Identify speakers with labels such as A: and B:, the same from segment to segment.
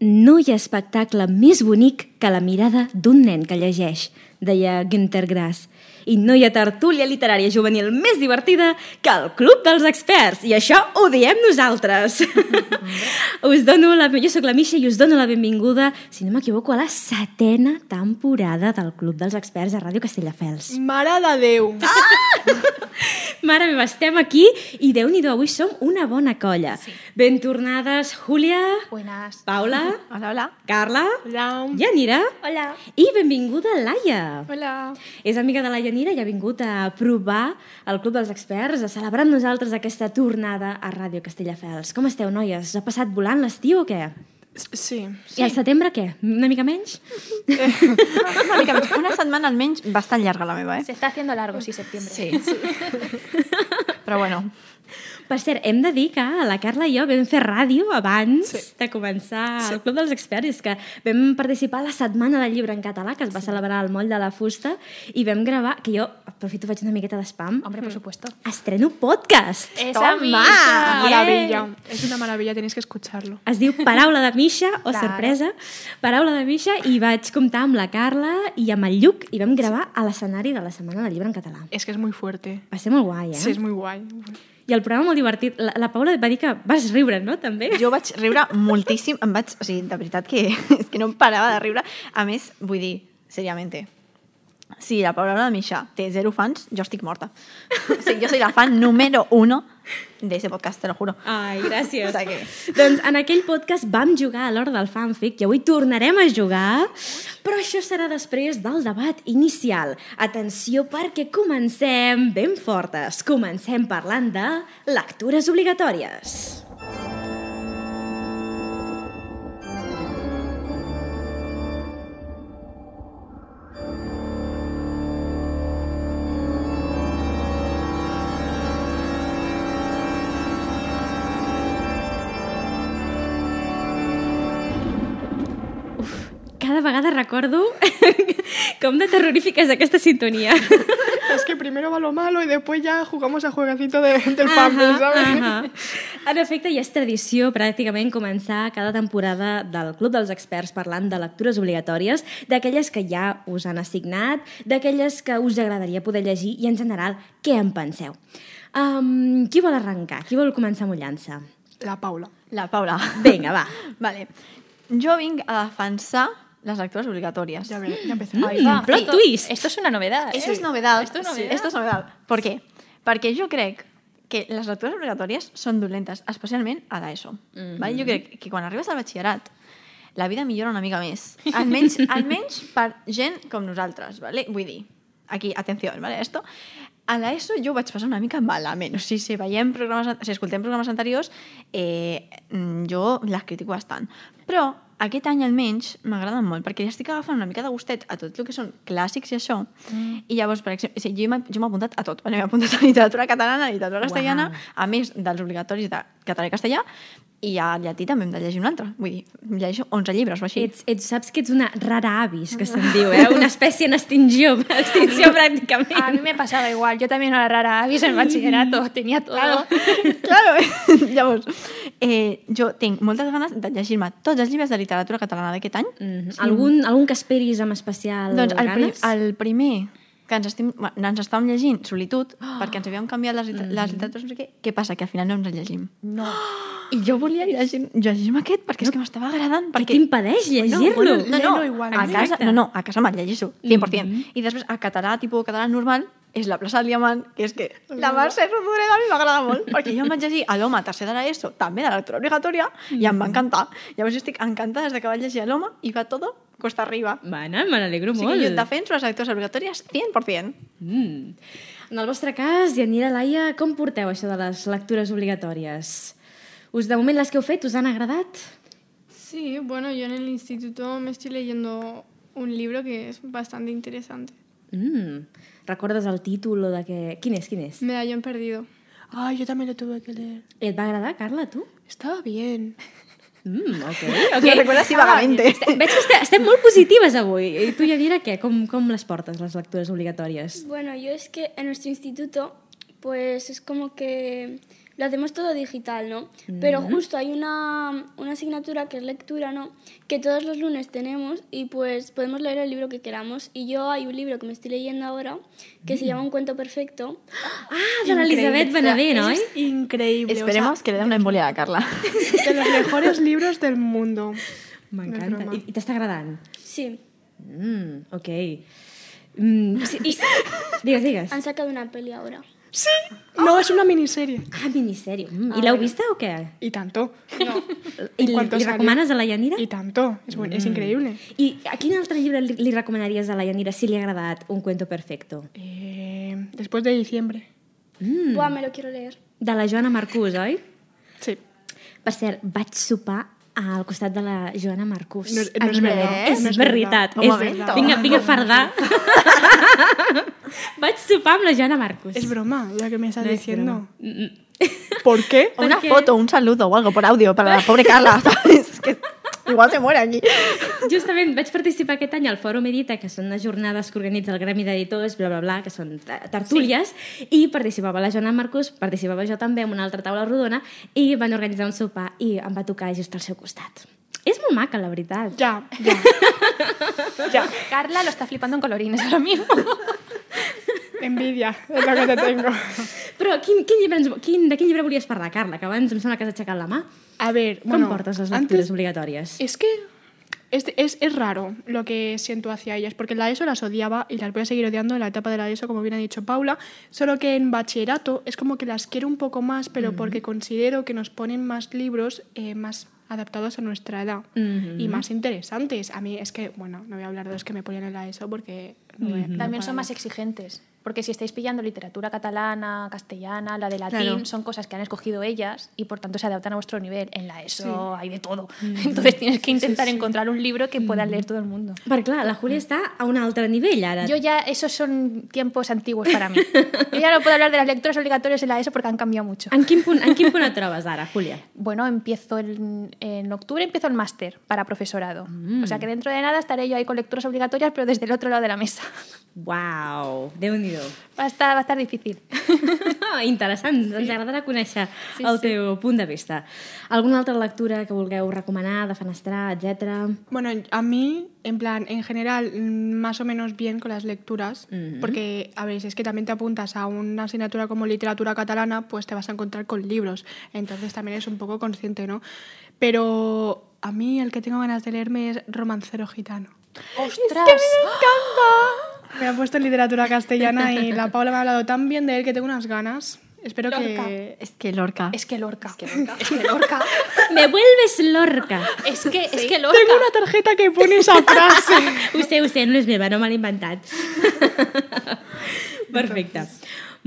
A: No hi ha espectacle més bonic que la mirada d'un nen que llegeix, deia Günther Grass. I no hi ha tertúlia literària juvenil més divertida que el Club dels Experts, i això ho diem nosaltres. us dono la... Jo sóc la Misha i us dono la benvinguda, si no m'equivoco, a la setena temporada del Club dels Experts a Ràdio Castelldefels.
B: Mare de Déu! Ah!
A: Mare meva, estem aquí i déu nhi avui som una bona colla. Sí. Ben tornades, Júlia,
B: Buenas.
A: Paula,
B: Hola, hola.
A: Carla,
B: Hola.
A: Yanira
B: Hola.
A: i benvinguda Laia.
B: Hola.
A: És amiga de la Yanira i ha vingut a provar el Club dels Experts, a celebrar amb nosaltres aquesta tornada a Ràdio Castelldefels. Com esteu, noies? Us ha passat volant l'estiu o què?
B: Sí.
A: Sí. I al setembre què? Una mica menys?
C: Una, mica, més. una setmana almenys bastant llarga la meva, eh?
D: Se está haciendo largo, sí, septiembre.
C: sí. Però bueno,
A: Per cert, hem de dir que la Carla i jo vam fer ràdio abans sí. de començar sí. el Club dels Experts, és que vam participar a la Setmana del Llibre en Català, que es va celebrar al Moll de la Fusta, i vam gravar, que jo, aprofito, faig una miqueta d'espam,
D: Hombre, por supuesto.
A: estreno podcast!
D: Esa
B: Una
D: misa.
B: maravilla. Es una maravilla, tenéis que escucharlo.
A: Es diu Paraula de Misha, o
D: Claro.
A: sorpresa, Paraula de Misha, i vaig comptar amb la Carla i amb el Lluc, i vam gravar a l'escenari de la Setmana del Llibre en Català.
B: Es que es muy fuerte.
A: Va ser molt guai, eh?
B: Sí, es muy guay.
A: I el programa molt divertit. La, la Paula et va dir que vas riure, no?, també?
C: jo vaig riure moltíssim, em vaig... O sigui, de veritat que, és que no em parava de riure. A més, vull dir, seriament, si la Paula de Misha té zero fans, jo estic morta. O sigui, jo soy la fan número uno de ese podcast, te lo juro.
A: Ai, gràcies.
C: O sigui que-
A: Doncs en aquell podcast vam jugar a l'hora del fanfic i avui tornarem a jugar, però això serà després del debat inicial. Atenció perquè comencem ben fortes. Comencem parlant de lectures obligatòries. Cada vegada recordo com de terrorífica és aquesta sintonia.
B: Es que primero va lo malo y después ya jugamos a jueguecito de- del
A: Ahà,
B: papel, ¿sabes?
A: ahà. En efecte, ja és tradició pràcticament començar cada temporada del Club dels Experts parlant de lectures obligatòries, d'aquelles que ja us han assignat, d'aquelles que us agradaria poder llegir i, en general, què en penseu. Um, qui vol arrencar? Qui vol començar mullant-se?
B: La Paula.
C: La Paula.
A: Vinga, va.
C: Vale. Jo vinc a defensar les lectures obligatòries.
B: Ya, ve, ya empezamos.
D: Ahí va.
A: Mm, plot
D: esto,
A: twist.
D: Esto es una novedad. ¿eh?
C: Esto es novedad.
D: Esto es novedad.
C: Sí, esto es novedad. Per què? Perquè jo crec que les lectures obligatòries són dolentes, especialment a l'ESO. Mm -hmm.
D: Mhm.
C: vale? Jo crec que quan arribes al batxillerat la vida millora una mica més. Almenys, almenys per gent com nosaltres. Vale? Vull dir, aquí, atenció, vale? Esto, a l'ESO jo ho vaig passar una mica malament. O sigui, si, veiem programes, si escoltem programes anteriors, eh, mm, jo les critico bastant. Però aquest any almenys m'agraden molt, perquè ja estic agafant una mica de gustet a tot el que són clàssics i això. Mm. I llavors, per exemple, o sigui, jo m'he jo m'he apuntat a tot. Vale? M'he apuntat a literatura catalana, a literatura castellana, a més dels obligatoris de català i castellà, i a llatí també hem de llegir un altre. Vull dir, em llegeixo 11 llibres o així.
A: Ets, ets, saps que ets una rara avis, que se'n diu, eh? Una espècie en extinció, extinció
D: A mí
A: pràcticament.
D: me pasaba igual. Yo también era rara avis en bachillerato. Tenía todo.
C: claro, llavors, eh, jo tinc moltes ganes de llegir-me tots els llibres de literatura catalana d'aquest any.
D: Mm,
A: Mhm. Algun, algun que esperis amb especial
C: Doncs el, pri
A: ganes?
C: el primer que ens, estim, bueno, ens estàvem llegint, Solitud, oh. perquè ens havíem canviat les, liter
D: Mm.
C: les literatures, no sé què, què passa? Que al final no ens el llegim.
B: No.
C: I jo volia llegir, llegir aquest perquè és que m'estava agradant.
A: Què
C: Perquè...
A: t'impedeix llegir-lo?
C: no, no,
B: Léelo igual,
C: a
B: exacte.
C: casa, no, no, a casa me'l llegeixo, 100%. I després a català, tipus català normal, és la plaça del Diamant, que és que la Mercè Rodoreda a mi m'agrada molt, perquè jo em vaig llegir a l'home tercer de l'ESO, també de la lectura obligatòria, i em va encantar. Llavors jo estic encantada des que vaig llegir a l'home i va tot costa arriba.
A: Bueno, me n'alegro
C: O
A: molt.
C: sigui que jo defenso les lectures obligatòries 100%.
A: Mm. En el vostre cas, Janira, Laia, com porteu això de les lectures obligatòries? Us, de moment, les que heu fet us han agradat?
E: Sí, bueno, yo en el instituto me estoy leyendo un libro que es bastante interesante.
A: Mm. Recordes el títol o de què... Quin és, quin és?
E: Medallón perdido.
B: Ay, yo también lo tuve que leer.
A: Et va agradar, Carla, a tu?
B: Estaba bien.
A: Mm, ok,
C: Lo
A: ok.
C: recuerdo así vagamente.
A: Veig que estem, estem molt positives avui. I tu, Janira, què? Com, com les portes, les lectures obligatòries?
F: Bueno, yo es que en nuestro instituto pues es como que lo hacemos todo digital, ¿no? Pero justo hay una, una asignatura que es lectura, ¿no? Que todos los lunes tenemos y pues podemos leer el libro que queramos. Y yo hay un libro que me estoy leyendo ahora que
A: Mm.
F: se llama Un cuento perfecto.
A: Ah, de l'Elisabet Benavent, oi?
D: ¿eh?
B: Increíble. o sea,
C: Esperemos que le dé una embolia a Carla.
B: de los mejores libros del mundo.
A: M'encanta.
B: broma.
A: I, I t'està agradant?
F: Sí,
A: Mm, ok. Mm, sí, i... Digues, digues.
B: Ah,
F: han sacado una peli ahora.
D: Ah.
B: No, es una miniserie.
A: Ah, minissèrie. Mm, I l'heu vista o què?
B: Y tanto.
A: I li,
B: quanto
A: li
B: salió?
A: recomanes a la Yanira?
B: Y tanto. Es, bueno, es increíble.
A: I a quin altre llibre li, li recomanaries a la Yanira si li ha agradat Un cuento perfecto?
B: Eh, después de diciembre.
A: Mm.
F: Buah, me lo quiero leer.
A: De la Joana Marcús, oi?
B: Sí.
A: Per cert, vaig sopar al costat de la Joana Marcús.
B: No és- no és
D: Pues,
A: Anna
B: veritat,
A: Belén.
B: no
A: És
B: és
A: veritat.
C: veritat. Un momento.
A: És... Vinga, vinga a fardar. vaig sopar amb la Joana Marcús.
B: Es broma, ya que me estás
A: No es
B: diciendo.
A: Mm, mm.
B: ¿Por qué?
C: una
A: Porque-
C: foto, un saludo o algo por audio para la pobre Carla, ¿sabes? Que igual se muere aquí.
A: Justament, vaig participar aquest any al Fòrum Edita, que són unes jornades que organitza el Gremi d'Editors, bla, bla, bla, que són ta- tertúlies, sí. i participava la Joana Marcús, participava jo també en una altra taula rodona, i van organitzar un sopar i em va tocar just al seu costat. És molt maca, la veritat.
B: Ya, ya. ya.
D: Carla lo está flipando en colorines ahora mismo.
B: Envidia es lo que te tengo.
A: Però quin, quin llibre ens, vo- quin, de quin llibre volies parlar, Carla? Que abans em sembla que has aixecat la mà.
B: A ver,
A: Com
B: bueno,
A: portes les lectures
B: antes, Eh.
A: obligatòries?
B: Es que es, es, es raro lo que siento hacia ellas, porque en la ESO las odiaba y las voy a seguir odiando en la etapa de la ESO, como bien ha dicho Paula, solo que en bachillerato es como que las quiero un poco más, pero porque considero que nos ponen más libros eh, más adaptados a nuestra edad y más interesantes. A mí es que, bueno, no voy a hablar de los que me ponían en la ESO porque... no voy a- no
D: También son
B: puedo.
D: más exigentes. Porque si estáis pillando literatura catalana, castellana, la de latín,
A: Claro.
D: son cosas que han escogido ellas y por tanto se adaptan a vuestro nivel. En la ESO hay de todo. Entonces tienes que intentar encontrar un libro que pueda leer todo el mundo.
A: Perquè, clar, la Júlia està a un altre nivell, ara.
D: Yo ya, esos son tiempos antiguos para mí. Yo ya no puedo hablar de las lecturas obligatorias en la ESO porque han cambiado mucho.
A: En quin punt, en quin punt et trobes ara, Júlia?
D: Bueno, empiezo en, en octubre, empiezo el máster para profesorado. O sea que dentro de nada estaré yo ahí con lecturas obligatorias, pero desde el otro lado de la mesa.
A: Wow, déu nhi
D: Va a estar, va a estar difícil.
A: Interessant, sí. ens agradarà conèixer sí, el teu punt de vista. Alguna altra lectura que vulgueu recomanar, defenestrar, etc.
B: Bueno, a mí, en plan, en general, mm, más o menos bien con las lecturas, porque, a ver, si es que también te apuntas a una asignatura como literatura catalana, pues te vas a encontrar con libros, entonces también es un poco consciente, ¿no? Pero a mí el que tengo ganas de leerme es Romancero Gitano.
D: ¡Ostras!
B: Me ha puesto en literatura castellana y la Paula me ha hablado tan bien de él que tengo unas ganas. Espero que...
C: Es que Lorca.
D: Es que Lorca. Es que Lorca. Es que Lorca.
A: Me vuelves lorca.
D: Es que, es que Lorca.
B: Tengo una tarjeta que pone esa frase.
A: Ho sé, ho sé, no és meva, no me l'he inventat. Perfecte.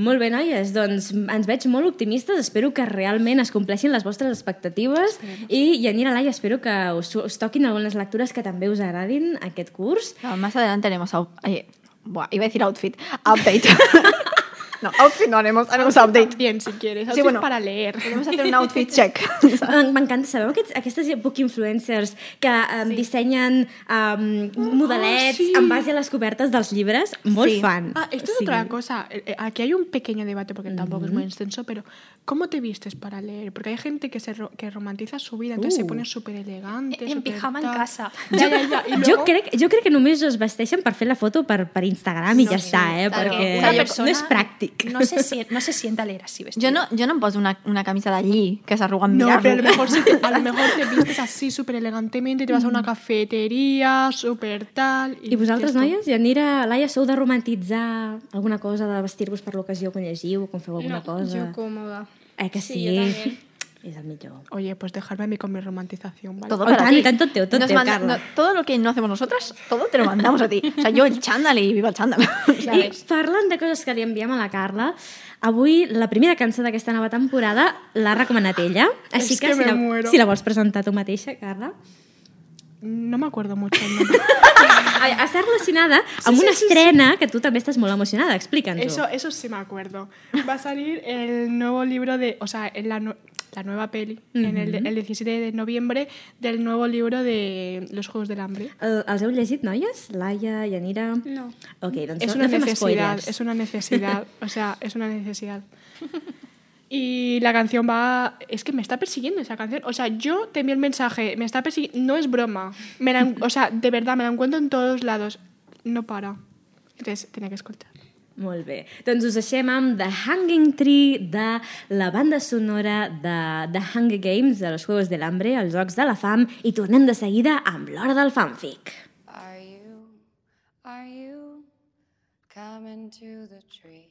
A: Molt bé, noies, doncs ens veig molt optimistes, espero que realment es compleixin les vostres expectatives i Yanira Laia, espero que us, us toquin algunes lectures que també us agradin aquest curs.
C: No, más adelante haremos. au- eh, buah, iba a decir outfit. Update. no, outfit no haremos, haremos update.
B: Bien, si quieres.
C: Sí,
B: así es
C: bueno.
B: para leer.
C: Podemos hacer un outfit check.
A: M'en- M'encanta, sabeu aquests, aquestes book influencers que um, sí. dissenyen um, modelets
B: sí.
A: en base a les cobertes dels llibres? Molt
C: Sí.
A: fan.
B: Ah, esto es
A: Sí.
B: otra cosa. Eh, eh, Aquí hay un pequeño debate, porque tampoco es muy extenso, pero ¿cómo te vistes para leer? Porque hay gente que, se ro- que romantiza su vida, entonces se
A: Uh.
B: pone súper elegante.
D: En pijama en casa.
B: Ya, ya, ya. Y
A: Jo
B: luego-
A: crec, jo crec que només es vesteixen per fer la foto per, per Instagram i ja està, eh?
D: Claro,
A: Perquè
D: una
A: no
D: persona
A: és pràctic.
D: No se, sien- no se sienta a leer así vestida.
C: Yo no, yo no puse una, una camisa de allí que se arruga en
B: No,
C: verano.
B: pero a lo mejor, sí te- a lo mejor te vistes así súper elegantemente, te vas a una cafetería, súper tal.
A: I vosaltres,
B: dices tú,
A: noies, Janira, Laia, sou de romantitzar alguna cosa, de vestir-vos per l'ocasió quan llegiu, quan feu alguna
F: No,
A: cosa?
E: Yo cómoda.
A: Eh, que sí?
F: Sí, jo també.
A: és el millor.
B: Oye, pues dejarme a mí con mi romantización, ¿vale?
C: Todo
A: Oh,
C: para
A: tan-
C: ti.
A: y tanto teo, todo
C: Nos
A: teo,
C: manda-
A: Carla.
C: no, todo lo que no hacemos nosotras, todo te lo mandamos a ti. O sea, yo el chándal y viva el chándal.
A: I parlant de coses que li enviem a la Carla, avui la primera cançó d'aquesta nova temporada l'ha recomanat ella, així
B: És
A: que,
B: que
A: si,
B: me
A: la,
B: muero.
A: si la vols presentar tu mateixa, Carla.
B: No me acuerdo mucho el nombre.
A: Ah, Està relacionada amb una estrena que tu també estàs molt emocionada, explica'ns-ho.
B: Eso, eso sí me acuerdo. Va a salir el nuevo libro de. O sea, en la, nu- la nueva peli, en el, el 17 de noviembre, del nuevo libro de Los Juegos del Hambre.
A: El, els heu llegit, noies? Laia, Yanira?
F: No.
A: Ok, doncs no,
B: es Mm. una
A: no fem
B: necesidad,
A: spoilers.
B: es una necesidad, o sea, es una necesidad. Y la canción va, es que me está persiguiendo esa canción, o sea, yo te envío el mensaje, me está persiguiendo, no es broma, me la en- o sea, de verdad, me la encuentro en todos lados, no para. Entonces, tenía que escuchar.
A: Molt bé. Doncs us deixem amb The Hanging Tree de la banda sonora de The Hunger Games, de los Juegos de l'Hambre, els Jocs de la Fam, i tornem de seguida amb l'Hora del Fanfic.
G: Are you, are you coming to the tree?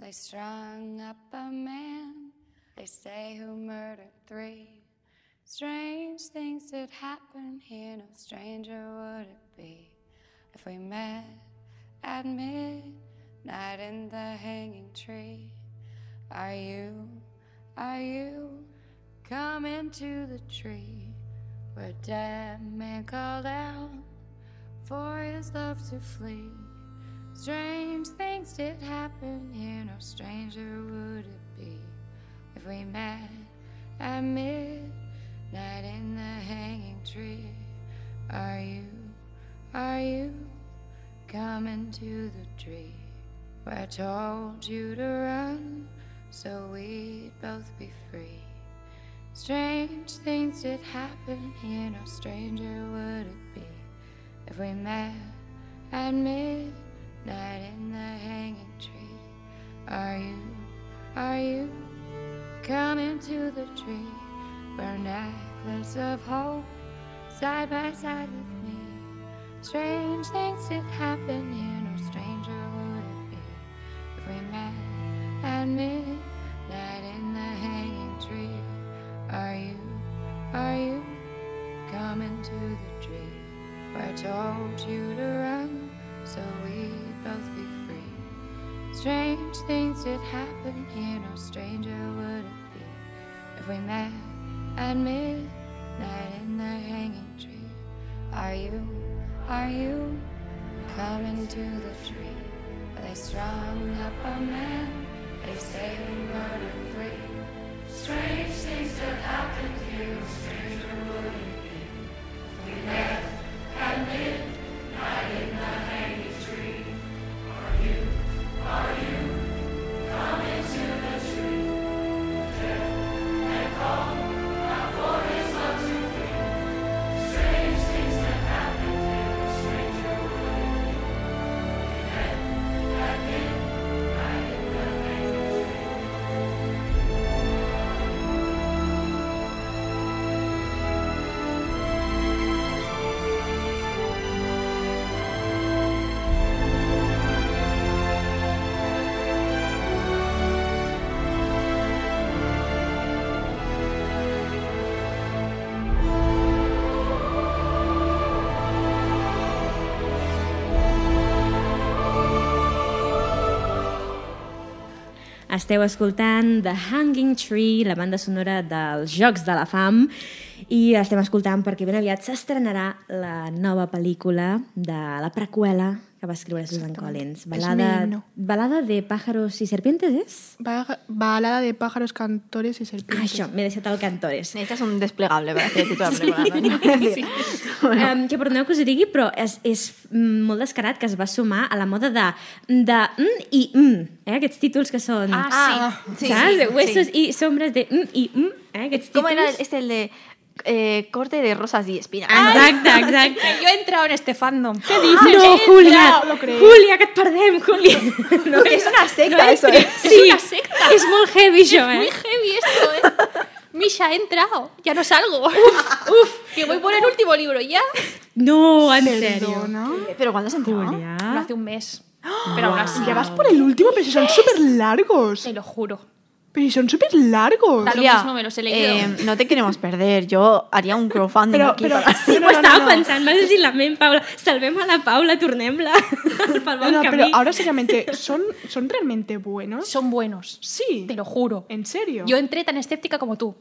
G: They strung up a man, they say who murdered three. Strange things did happen here, no stranger would it be if we met at midnight in the hanging tree. Are you, are you coming to the tree where dead man called out? for his love to flee. Strange things did happen here, no stranger would it be if we met at midnight in the hanging tree. Are you, are you coming to the tree where I told you to run so we'd both be free? Strange things did happen here, no stranger would it be if we met at midnight in the hanging tree, are you, are you coming to the tree where a necklace of hope side by side with me? Strange things did happen here, no stranger would it be if we met at midnight in the hanging tree. Are you, are you coming to the tree? where I told you to run so we both be free. Strange things did happen here, no stranger would it be if we met at midnight in the hanging tree. Are you, are you coming to the tree? Where they strung up a man, they say we murdered three. Strange things that happened here, no stranger would it be.
A: Esteu escoltant The Hanging Tree, la banda sonora dels Jocs de la Fam, i estem escoltant perquè ben aviat s'estrenarà la nova pel·lícula de la preqüela que va escriure Susan Collins.
B: un
A: Balada,
B: himno.
A: balada de pájaros y serpientes, és?
B: Ba- Balada de pájaros, cantores y
A: Ah,
B: serpientes.
A: això, m'he deixat el cantores.
C: Necesitas un desplegable para hacer toda la película. ¿no?
A: Bueno. Um, que perdoneu que us ho digui, però és, és mm, molt descarat que es va sumar a la moda de, de mm i mm, eh? aquests títols que són...
C: Ah, sí. Sí,
A: saps?
C: sí, sí.
A: Huesos i sombres de mm i mm, eh? aquests títols...
C: ¿Cómo era este el de eh, corte de rosas y espinas?
D: Ah.
A: Exacte, exacte.
D: Yo he entrado en este fandom.
A: Ah, no, Júlia,
B: no lo creo.
A: Júlia, que et perdem, Júlia. No,
C: Que es una secta eso, ¿eh?
A: sí, és una secta. És molt heavy, això, eh?
D: Muy heavy esto, ¿eh? Misha, he entrado. Ya no salgo. Que voy por el último libro, ¿ya?
A: No, en sèrio.
B: ¿No?
C: ¿Pero cuándo se enteró?
B: Ah.
D: Lo hace un mes. Pero aún así.
B: Ya vas por el último, pero si son súper largos.
D: Te lo juro.
B: Pero si son súper largos.
D: Da lo
C: Julia,
D: mismo, me los he leído.
C: eh, no te queremos perder. Yo haría un crowdfunding
B: Pero,
C: aquí
B: pero,
C: para-
A: Sí,
B: no,
A: ho
D: pues
B: no, no,
A: estava
B: no.
A: pensant, vas dir la ment, Paula. Salvem a la Paula, tornem-la pel bon
B: No, no,
A: camí.
B: pero ahora seriamente, ¿son, ¿son realmente buenos?
D: Son buenos.
B: Sí.
D: Te lo juro.
B: ¿En serio?
D: Yo entré tan escéptica como tú.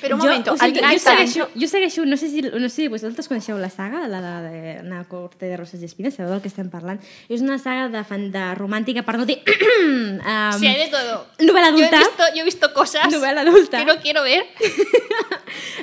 C: Però un momento,
A: o sigui,
C: alguien
A: jo,
C: está-
A: segueixo, jo segueixo, no sé si, no sé si vosaltres coneixeu la saga, la de, de Ana Corte de Roses i Espines, sabeu del que estem parlant? És una saga de, fan, de romàntica, perdó, de... um,
D: Sí, hay de todo.
A: Novel·la
D: Yo he,
A: adulta.
D: visto, yo he visto cosas
A: Novel·la adulta.
D: que no quiero ver.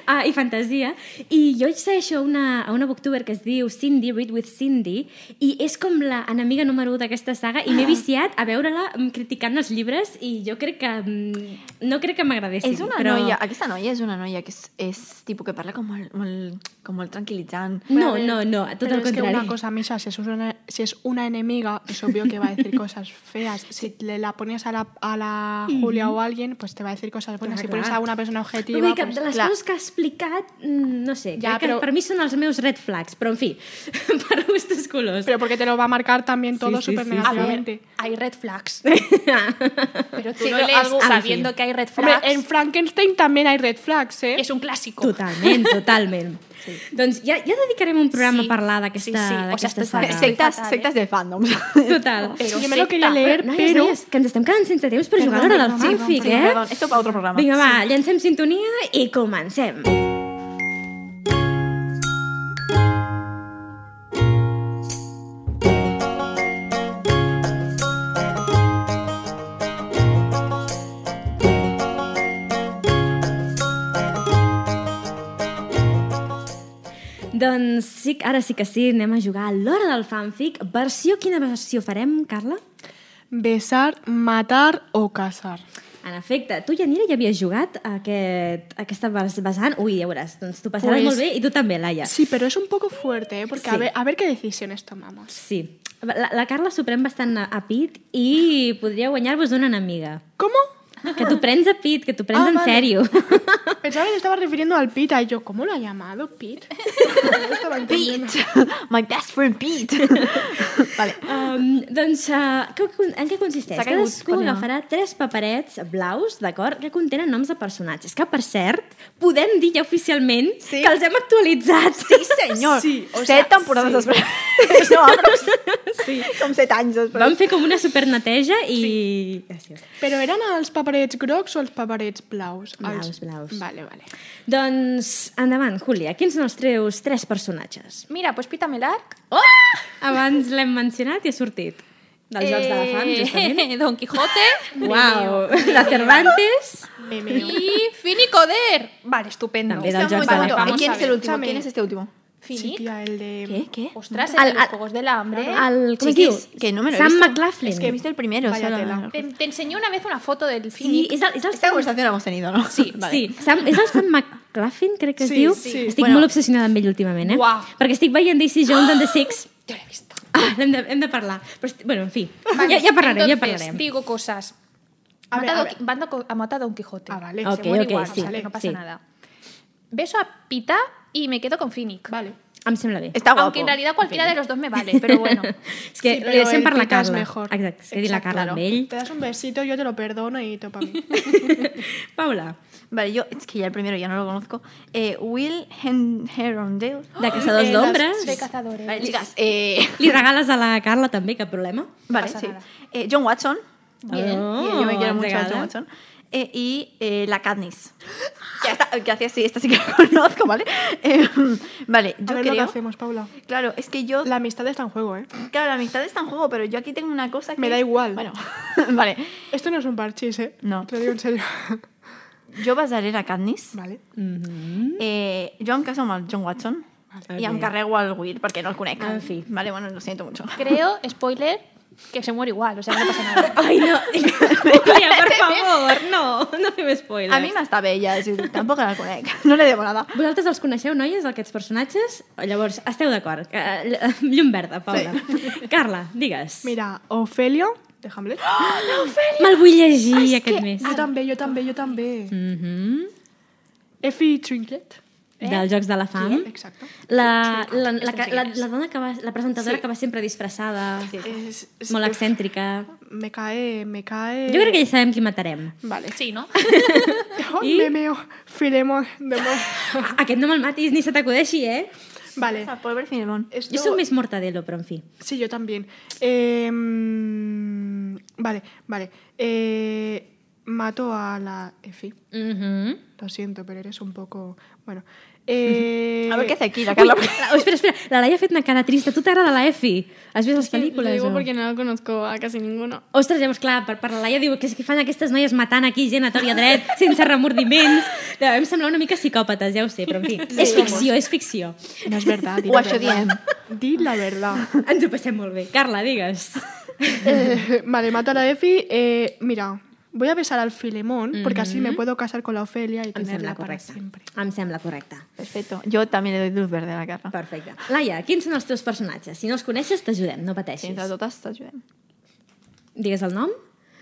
A: ah, i fantasia. I jo segueixo a una, a una booktuber que es diu Cindy, Read with Cindy, i és com la enemiga número 1 d'aquesta saga, i m'he viciat a veure-la mm, criticant els llibres, i jo crec que... mm, No crec que m'agradessin.
C: És una
A: però...
C: noia, aquesta noia és una noia que és, és tipus que parla com molt, molt, com molt tranquil·litzant.
A: No, no, no, tot
B: Pero
A: el
B: es que
A: contrari.
B: una cosa, Misa, si es, una, si es una enemiga, es obvio que va a decir cosas feas. Si le la pones a la, a la Julia o a alguien, pues te va a decir cosas buenas.
A: Clar,
B: si pones
A: clar.
B: a una persona
A: No,
B: objetiva...
A: vull dir que
B: pues-
A: de les
C: clar.
A: coses que ha explicat, mm, no sé, ja,
B: Ja,
A: crec però...
B: però-
A: que per mi són els meus red flags, però en fi, per gustos colors.
B: Pero porque te lo va a marcar también todo
A: sí,
B: súper
A: sí,
D: A ver,
B: negativamente.
D: hay red flags. Pero tú
C: Sí,
D: lo
C: pero
D: lees
C: algo-
D: sabiendo que hay red
B: Hombre,
D: flags.
B: en Frankenstein también hay red flags, ¿eh?
D: Es un clásico.
A: Totalment, totalment. sí. Doncs ja, ja dedicarem un programa sí.
D: Sí.
A: a parlar d'aquesta
D: Sí, sí. O sea,
A: d'aquesta
D: estoy
A: saga.
D: fatal.
C: sectas,
D: fatal, eh?
C: sectas de fandoms.
A: Total.
D: Pero
B: Yo me lo
D: secta.
B: quería leer,
A: Noies,
B: pero...
A: noies, que ens estem quedant sense temps per jugar a l'hora del fanfic, eh?
C: Perdón, esto para otro programa.
A: Vinga, va, llancem sintonia i comencem. Doncs sí, ara sí que sí, anem a jugar a l'hora del fanfic. Versió, quina versió farem, Carla?
B: Besar, matar o casar.
A: En efecte, tu, Janira, ja havies jugat a aquest, a aquesta bas- vessant. Ui, ja veuràs, doncs tu passaràs
B: Pues-
A: molt bé i tu també, Laia.
B: Sí, pero es un poco fuerte, ¿eh? Porque
A: Sí.
B: a, ver, a ver qué decisiones tomamos.
A: Sí. La, la Carla s'ho pren bastant a, a pit i podria guanyar-vos una enemiga.
B: ¿Cómo?
A: Que t'ho prens a pit, que t'ho prens
B: Ah,
A: en
B: vale.
A: sèrio.
B: Pensaba que te estaba refiriendo al Pita y yo, ¿cómo lo ha llamado Pete? No estaba entendiendo.
C: Pete. My best friend Pete. vale.
A: Um, doncs, uh, que, en què consisteix?
C: S'ha caigut,
A: Cadascú
C: Paulina.
A: agafarà tres paperets blaus, d'acord, que contenen noms de personatges. Que, per cert, podem dir ja oficialment sí. que els hem actualitzat. Sí,
C: Señor,
B: Sí, o
C: set
B: sea,
C: temporades
B: sí.
C: després. no, però... Sí. Com set anys després.
A: Vam fer com una superneteja i... Sí. Gràcies.
B: Però eren els paperets grocs o els paperets blaus?
A: Blaus,
B: els...
A: blaus.
B: Vale, vale.
A: Doncs endavant, Júlia, quins són els teus tres personatges?
D: Mira, pues pítame el arc.
A: Oh! Abans l'hem mencionat i ha sortit. Dels Jocs de la Fam, justament.
D: Eh, Don Quijote
A: Uau, la Cervantes.
B: Me meo.
D: y Finicoder. Vale, estupendo.
A: También
D: Está
A: Don
D: muy
A: Joan
D: bueno.
A: Salafán.
D: Vamos
C: ¿Quién
D: a
C: es
D: ver.
C: el último?
B: Escúchame.
C: ¿Quién es este último?
B: Sí,
D: Finic.
B: tía, el de...
C: ¿Qué? ¿Qué?
D: Ostras,
A: Al-
D: el de los
A: al-
D: Juegos del Hambre.
A: Al, com es diu?
C: Chiquis, que no me lo he
A: Sam
C: visto.
A: McLaughlin.
C: Es que he visto el primero.
B: Vaya
C: solo-
B: tela.
D: Te, te enseñé una vez una foto del
A: Sí,
D: Finic.
A: és el, és el
C: Esta
A: Sam,
C: conversación la hemos tenido, ¿no?
A: sí, sí. Sam, és el Sam McLaughlin, crec que es
B: Sí,
A: diu.
B: sí.
A: Estic
C: Bueno.
A: molt obsessionada amb ell últimament, eh?
D: Uau.
A: Perquè estic veient Daisy Jones and the Six.
D: Yo la he visto.
A: Ah, hem de, hem de parlar. Però, estic- bueno, en fi,
D: Vale,
A: ja, ja parlarem,
D: entonces,
A: ja parlarem.
D: digo cosas.
B: A ver,
D: Mata
B: a
D: a Don-
B: ver.
D: manda co- a mata a Don Quijote.
B: Ah, vale.
A: Ok,
D: Se muere
A: ok,
D: igual,
A: sí,
D: o sea, que no pasa
A: sí.
D: nada. Beso a Pita y me quedo con Finic.
B: Vale.
A: Em sembla bé.
C: Está guapo.
D: Aunque en realidad cualquiera de los dos me vale, pero bueno.
A: és que sí,
B: Sí, però
A: li deixem
B: el
A: parlar a
B: Pita és
A: Carla.
B: mejor.
A: Exacte, es quedi la
B: Exacte,
A: Carla
C: claro.
A: amb ell.
B: Te das un besito, yo te lo perdono y topa a mí.
A: Paula,
C: Vale, yo, es que ya el primero ya no lo conozco. Eh, Will Hen- Herondale.
A: de Caçadors
B: eh,
A: d'Ombres.
D: De cazadores.
C: Vale, chicas. Eh,
A: Li regales a la Carla també, cap problema. Oh,
C: vale,
D: pasa
C: sí.
D: nada.
C: Eh, John Watson.
A: Bien.
C: Eh, yo me quiero mucho a John Watson. Eh, y eh, la Katniss. Que, esta, que hacía sí, esta sí que la conozco, ¿vale? Eh, vale,
B: A
C: yo
B: ver lo que
C: creo...
B: hacemos, Paula.
C: Claro, es que yo...
B: La amistad está en juego, ¿eh?
C: Claro, la amistad está en juego, pero yo aquí tengo una cosa que...
B: Me da igual.
C: Bueno, vale.
B: Esto no es un parchís, ¿eh?
C: No.
B: Te lo digo en serio.
C: Jo basaré la Katniss.
B: vale.
C: Eh, jo em caso amb el John Watson. I em carrego al Will, perquè no el conec.
A: En fi.
C: Vale, bueno, lo siento mucho.
D: Creo, spoiler, que se muere igual, o sea, no pasa nada.
A: Ai, no. Julia, per favor, no. No fem spoilers.
C: A mi m'està bé, ja, és a dir, tampoc la conec. No li debo nada.
A: Vosaltres els coneixeu, noies, aquests personatges? Oh, Llavors, esteu d'acord. Eh, ll- Llum verda, Paula. Sí. Carla, digues.
B: Mira, Ofelia de Hamlet.
C: Ah,
A: Me'l vull llegir Ai, aquest que... mes.
B: Yo también, yo también, yo también. Effie Trinket.
A: Dels Jocs de la
C: Ah.
A: Fam.
B: Exacto.
A: La, la, la, la, la, la dona que va, la presentadora sí. que va sempre disfressada, sí.
B: Es, es-
A: molt
B: uf,
A: excèntrica.
B: Me cae, me cae.
A: Jo crec que ja sabem qui matarem.
B: Vale.
D: Sí, ¿no?
B: Oh,
A: ¿Y?
B: Me meo. Filemón de Mor-
A: Aquest no me'l matis ni se t'acudeixi, eh?
B: Vale.
C: Pobre Filemón.
B: Esto-
A: Jo sóc més mortadelo, però en fi.
B: Sí, yo también. Eh, mm, vale, vale. Eh, mato a la Efi.
A: Mhm.
B: Lo siento, pero eres un poco. Bueno. eh,
C: A ver qué hace aquí la Carla.
A: La- oh, espera, espera, la Laia ha fet una cara trista. Tu t'agrada la Efi? Has vist les
E: Lo
A: pel·lícules?
E: digo
A: o?
E: porque no lo conozco a casi ninguno.
A: Ostres, llavors, clar, per, per la Laia diu que, és que fan aquestes noies matant aquí gent a tort i a dret, sense remordiments. Ja, em semblar una mica psicòpates, ja ho sé, però en fi. és ficció, és ficció.
B: No es verdad. Di
C: O
B: la
C: això
B: verdad.
C: diem.
B: Di la verdad.
A: Ens ho passem molt bé. Carla, digues.
B: Eh, vale, mato a la Efi. eh, mira, voy a besar al Filemón porque así me puedo casar con la Ofelia
A: Em
B: y
A: sembla
B: tenerla para
A: correcte.
B: siempre.
A: Em sembla correcte.
C: Perfecto. Yo también le doy luz verde a la Carla.
A: Perfecte. Laia, quins són els teus personatges? Si no els coneixes, t'ajudem, no
C: Sí,
A: pateixis.
C: entre todas t'ajudem.
A: Digues el nom.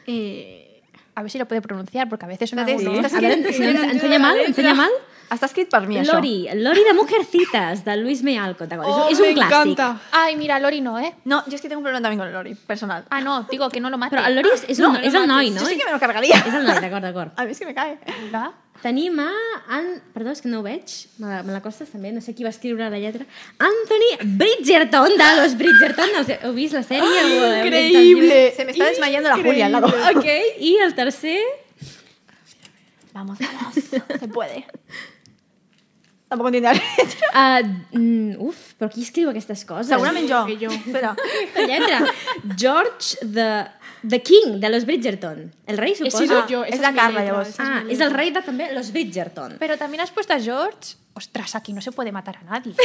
D: Eh, a ver si lo puede pronunciar, porque a veces suena
C: No te-
D: muy-
C: estás-
A: A veure, ensenya, ensenya mal, ensenya mal.
C: Està escrit per mi, això.
A: Lori, Lori de Mujercitas, de Luis Mea Alcotagol. Oh, és un
B: me
A: clàssic.
B: encanta.
D: Ay, mira, Lori no, ¿eh?
C: No, yo es que tengo un problema también con Lori, personal.
D: Ah, no, digo que no lo mate.
A: Però el Lori és, és, un, no, és el noi, no?
C: Yo sí que me lo cargaría.
A: És el noi, d'acord, d'acord.
C: A mí es que me cae.
D: ¿Verdad?
A: Tenim a... An... Perdó, és que no ho veig. Me la, me la costes també, no sé qui va escriure la lletra. Anthony Bridgerton, de Los Bridgerton. Els, heu vist la sèrie? Oh,
B: Increíble.
C: Se me está desmayando la Julia al lado.
A: Ok, i el tercer...
C: Vamos, vamos. Se puede. Tampoco entiendo la letra.
A: Uh, mm, uf, però qui escriu aquestes coses?
C: Segurament jo.
B: Que jo.
C: Espera.
A: La lletra. George the, the King, de Los Bridgerton. El rei,
B: He
A: suposo.
B: sido
C: Ah,
B: yo. esa
C: es la
B: mi
C: Carla,
B: letra,
C: ya vos.
B: esa
A: Ah,
B: mi
A: és el rei de també Los Bridgerton.
D: Pero también has puesto a George. Ostras, aquí no se puede matar a nadie.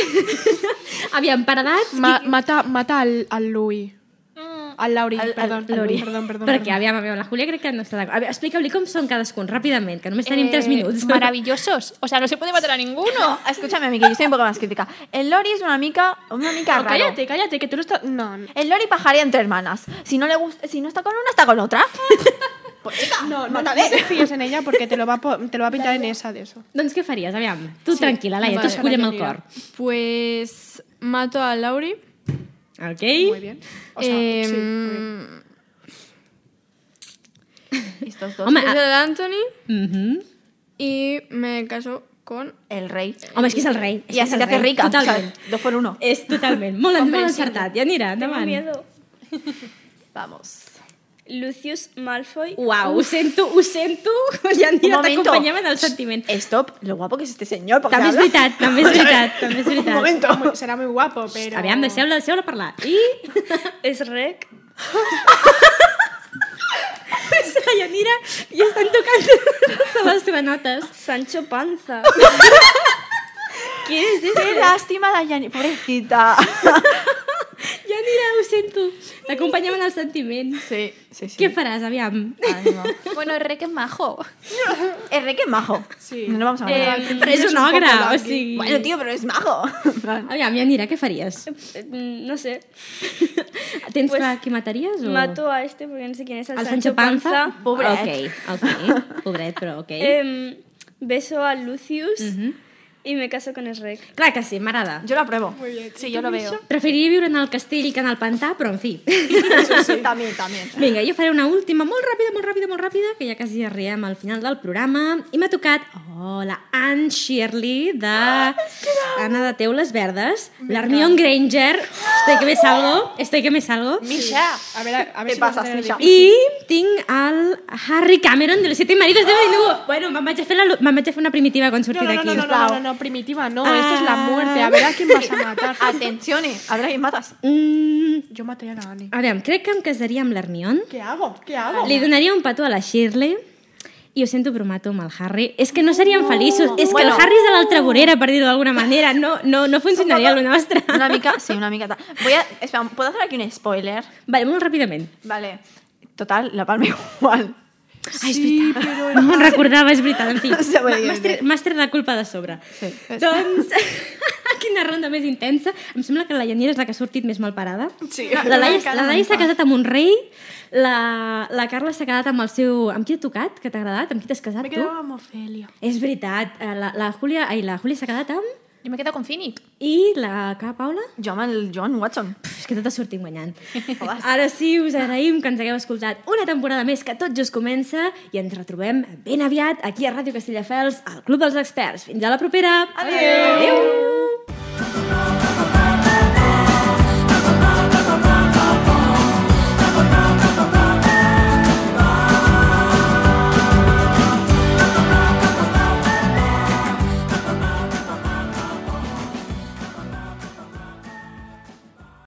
A: Aviam, per
C: Mm,
A: edats...
B: Ma- mata, mata al, al Louis. Mm. Al Lauri,
C: al
B: perdón, al
A: Lori.
B: Louis, perdón, perdón.
A: Perquè,
B: perdón.
A: aviam, aviam, la Júlia crec que no està d'acord. A veure, Explica-li com són cadascun, ràpidament, que només tenim 3
D: Eh,
A: minuts.
D: Maravillosos. O sea, no se puede matar a ninguno.
C: Escúchame, Miki, yo soy un poco más crítica. El Lori es una mica, una mica
B: No,
C: raro.
B: cállate, cállate, que tú lo estás. No, no,
C: El Lori pajaría entre hermanas. Si no le gusta, si no está con una, está con otra. pues chica,
B: no, no,
C: mátale.
B: te fíes en ella porque te lo va, a po- te lo va a pintar en esa de eso.
A: Doncs què faries? Aviam, tu sí, tranquil·la, Laia, tu
B: vale.
A: escullem el
B: Ara
A: cor.
E: Pues mato a Lauri.
A: Ok?
B: Muy bien. Em, O sea,
E: eh,
B: sí, muy bien.
C: Estos dos.
A: Home,
E: beso
A: a...
E: al Anthony
A: mm -hmm.
E: y me caso con
C: El rey.
A: Home, és que és el rei. És
C: Y
A: que
C: así
A: és el
C: te hace
A: rey.
C: rica.
A: Totalment.
C: ¿sabes? Dos por uno.
A: És totalment. Molt, molt encertat. Ja anirà, endavant.
C: Vamos.
F: Lucius Malfoy.
A: Uau, ho sento, ho sento. Ja anirà, t'acompanyem en el sentiment.
C: Stop. Lo guapo que es este señor. porque
A: També és
C: Eh, habla-
A: veritat, també és veritat, també és
C: Un
A: veritat.
C: momento.
B: Será muy- Será muy guapo, pero.
A: Aviam, deixeu-la deixeu parlar. I
F: Es Rec.
A: la Yanira i estan tocant totes les granotes.
F: Sancho Panza.
A: Què és
C: Qué lástima, Dayani. Pobrecita.
A: Yanira, ho sento. T'acompanyem en el sentiment.
C: Sí, sí, sí.
A: Què faràs, aviam?
C: Ánimo.
D: Bueno, el rey que es majo.
C: El rey que es majo.
B: Sí.
C: No nos vamos a matar.
A: Eh, Però és un ogre, o sigui...
C: Bueno, tío, pero es majo. En plan,
A: Aviam, Yanira, què faries?
F: Mm, No sé.
A: Tens
F: Pues,
A: clar qui mataries? O...
F: Mato a este porque no sé quién es. Al
A: el Sancho Panza?
C: Pobret.
A: Ok, ok. Pobret, però ok. Eh...
F: Em, beso a Lucius y me caso con Esrec.
A: Clar que sí, m'agrada.
C: Yo lo apruebo.
D: Sí, yo lo veo.
A: Preferiria viure en el castell que en el pantà, però en fi.
C: También, también.
A: Vinga, jo faré una última, molt ràpida, molt ràpida, molt ràpida, que ja quasi arribem al final del programa. I m'ha tocat, oh, la Anne Shirley, de
B: Ah,
A: Anna de Teules Verdes, l'Hermione Granger, estoy que me salgo, estoy que me salgo.
C: Misha.
B: A ver, a, a ver
C: ¿Qué
B: si vas a
C: pasas,
B: hacer el
C: Misha?
A: I tinc el Harry Cameron de los siete maridos de Benú. Bueno, me'n vaig, a fer la, me'n vaig a fer una primitiva quan
B: No,
A: surti
B: Ah! no, no,
A: d'aquí.
B: no, no, no, no, no, primitiva, no, esto es la
A: Ah.
B: muerte. A ver a quién vas a matar.
C: Atenciones. A ver a quién matas.
A: Mm,
B: Yo maté a la Annie.
A: a veure, crec que em casaria amb l'Hermione.
B: ¿Qué hago? ¿Qué hago?
A: Li donaria Ah, un petó a la Shirley i ho sento, però mato amb el Harry. És que no serien feliços. És que el
C: Bueno.
A: Harry és de l'altra vorera, per dir-ho d'alguna manera. No, no, no funcionaria el nostre.
C: Una mica, sí, una mica. ta- Voy a. Espera, ¿puedo hacer aquí un spoiler?
A: Vale, molt ràpidament.
C: Vale. Total, la palma igual.
B: Sí, pero
A: No me'n recordava, és veritat, en fi.
C: No sé, vull dir,
A: M'has tret- M'has tret la culpa de sobre. eh. Sí. Doncs, quina ronda més intensa. Em sembla que la Llanera és la que ha sortit més malparada.
C: Sí.
A: La Laia,
C: Una
A: la Laia
C: mica.
A: s'ha casat amb un rei, la, la Carla s'ha quedat amb el seu... Amb qui t'ha tocat? Que t'ha agradat? Amb qui t'has casat,
B: me
A: tu?
B: quedaba como Ofelia.
A: És veritat. eh, La, la Júlia... Ai, la Júlia s'ha quedat amb...
D: Yo me he quedado con Phoenix.
A: I la que, Paula?
C: Jo amb el John Watson.
A: Puf, és que tot ha sortit guanyant. Ara sí, us agraïm que ens hagueu escoltat una temporada més que tot just comença i ens retrobem ben aviat aquí a Ràdio Castelldefels, al Club dels Experts. Fins a la propera! Adéu! Adéu.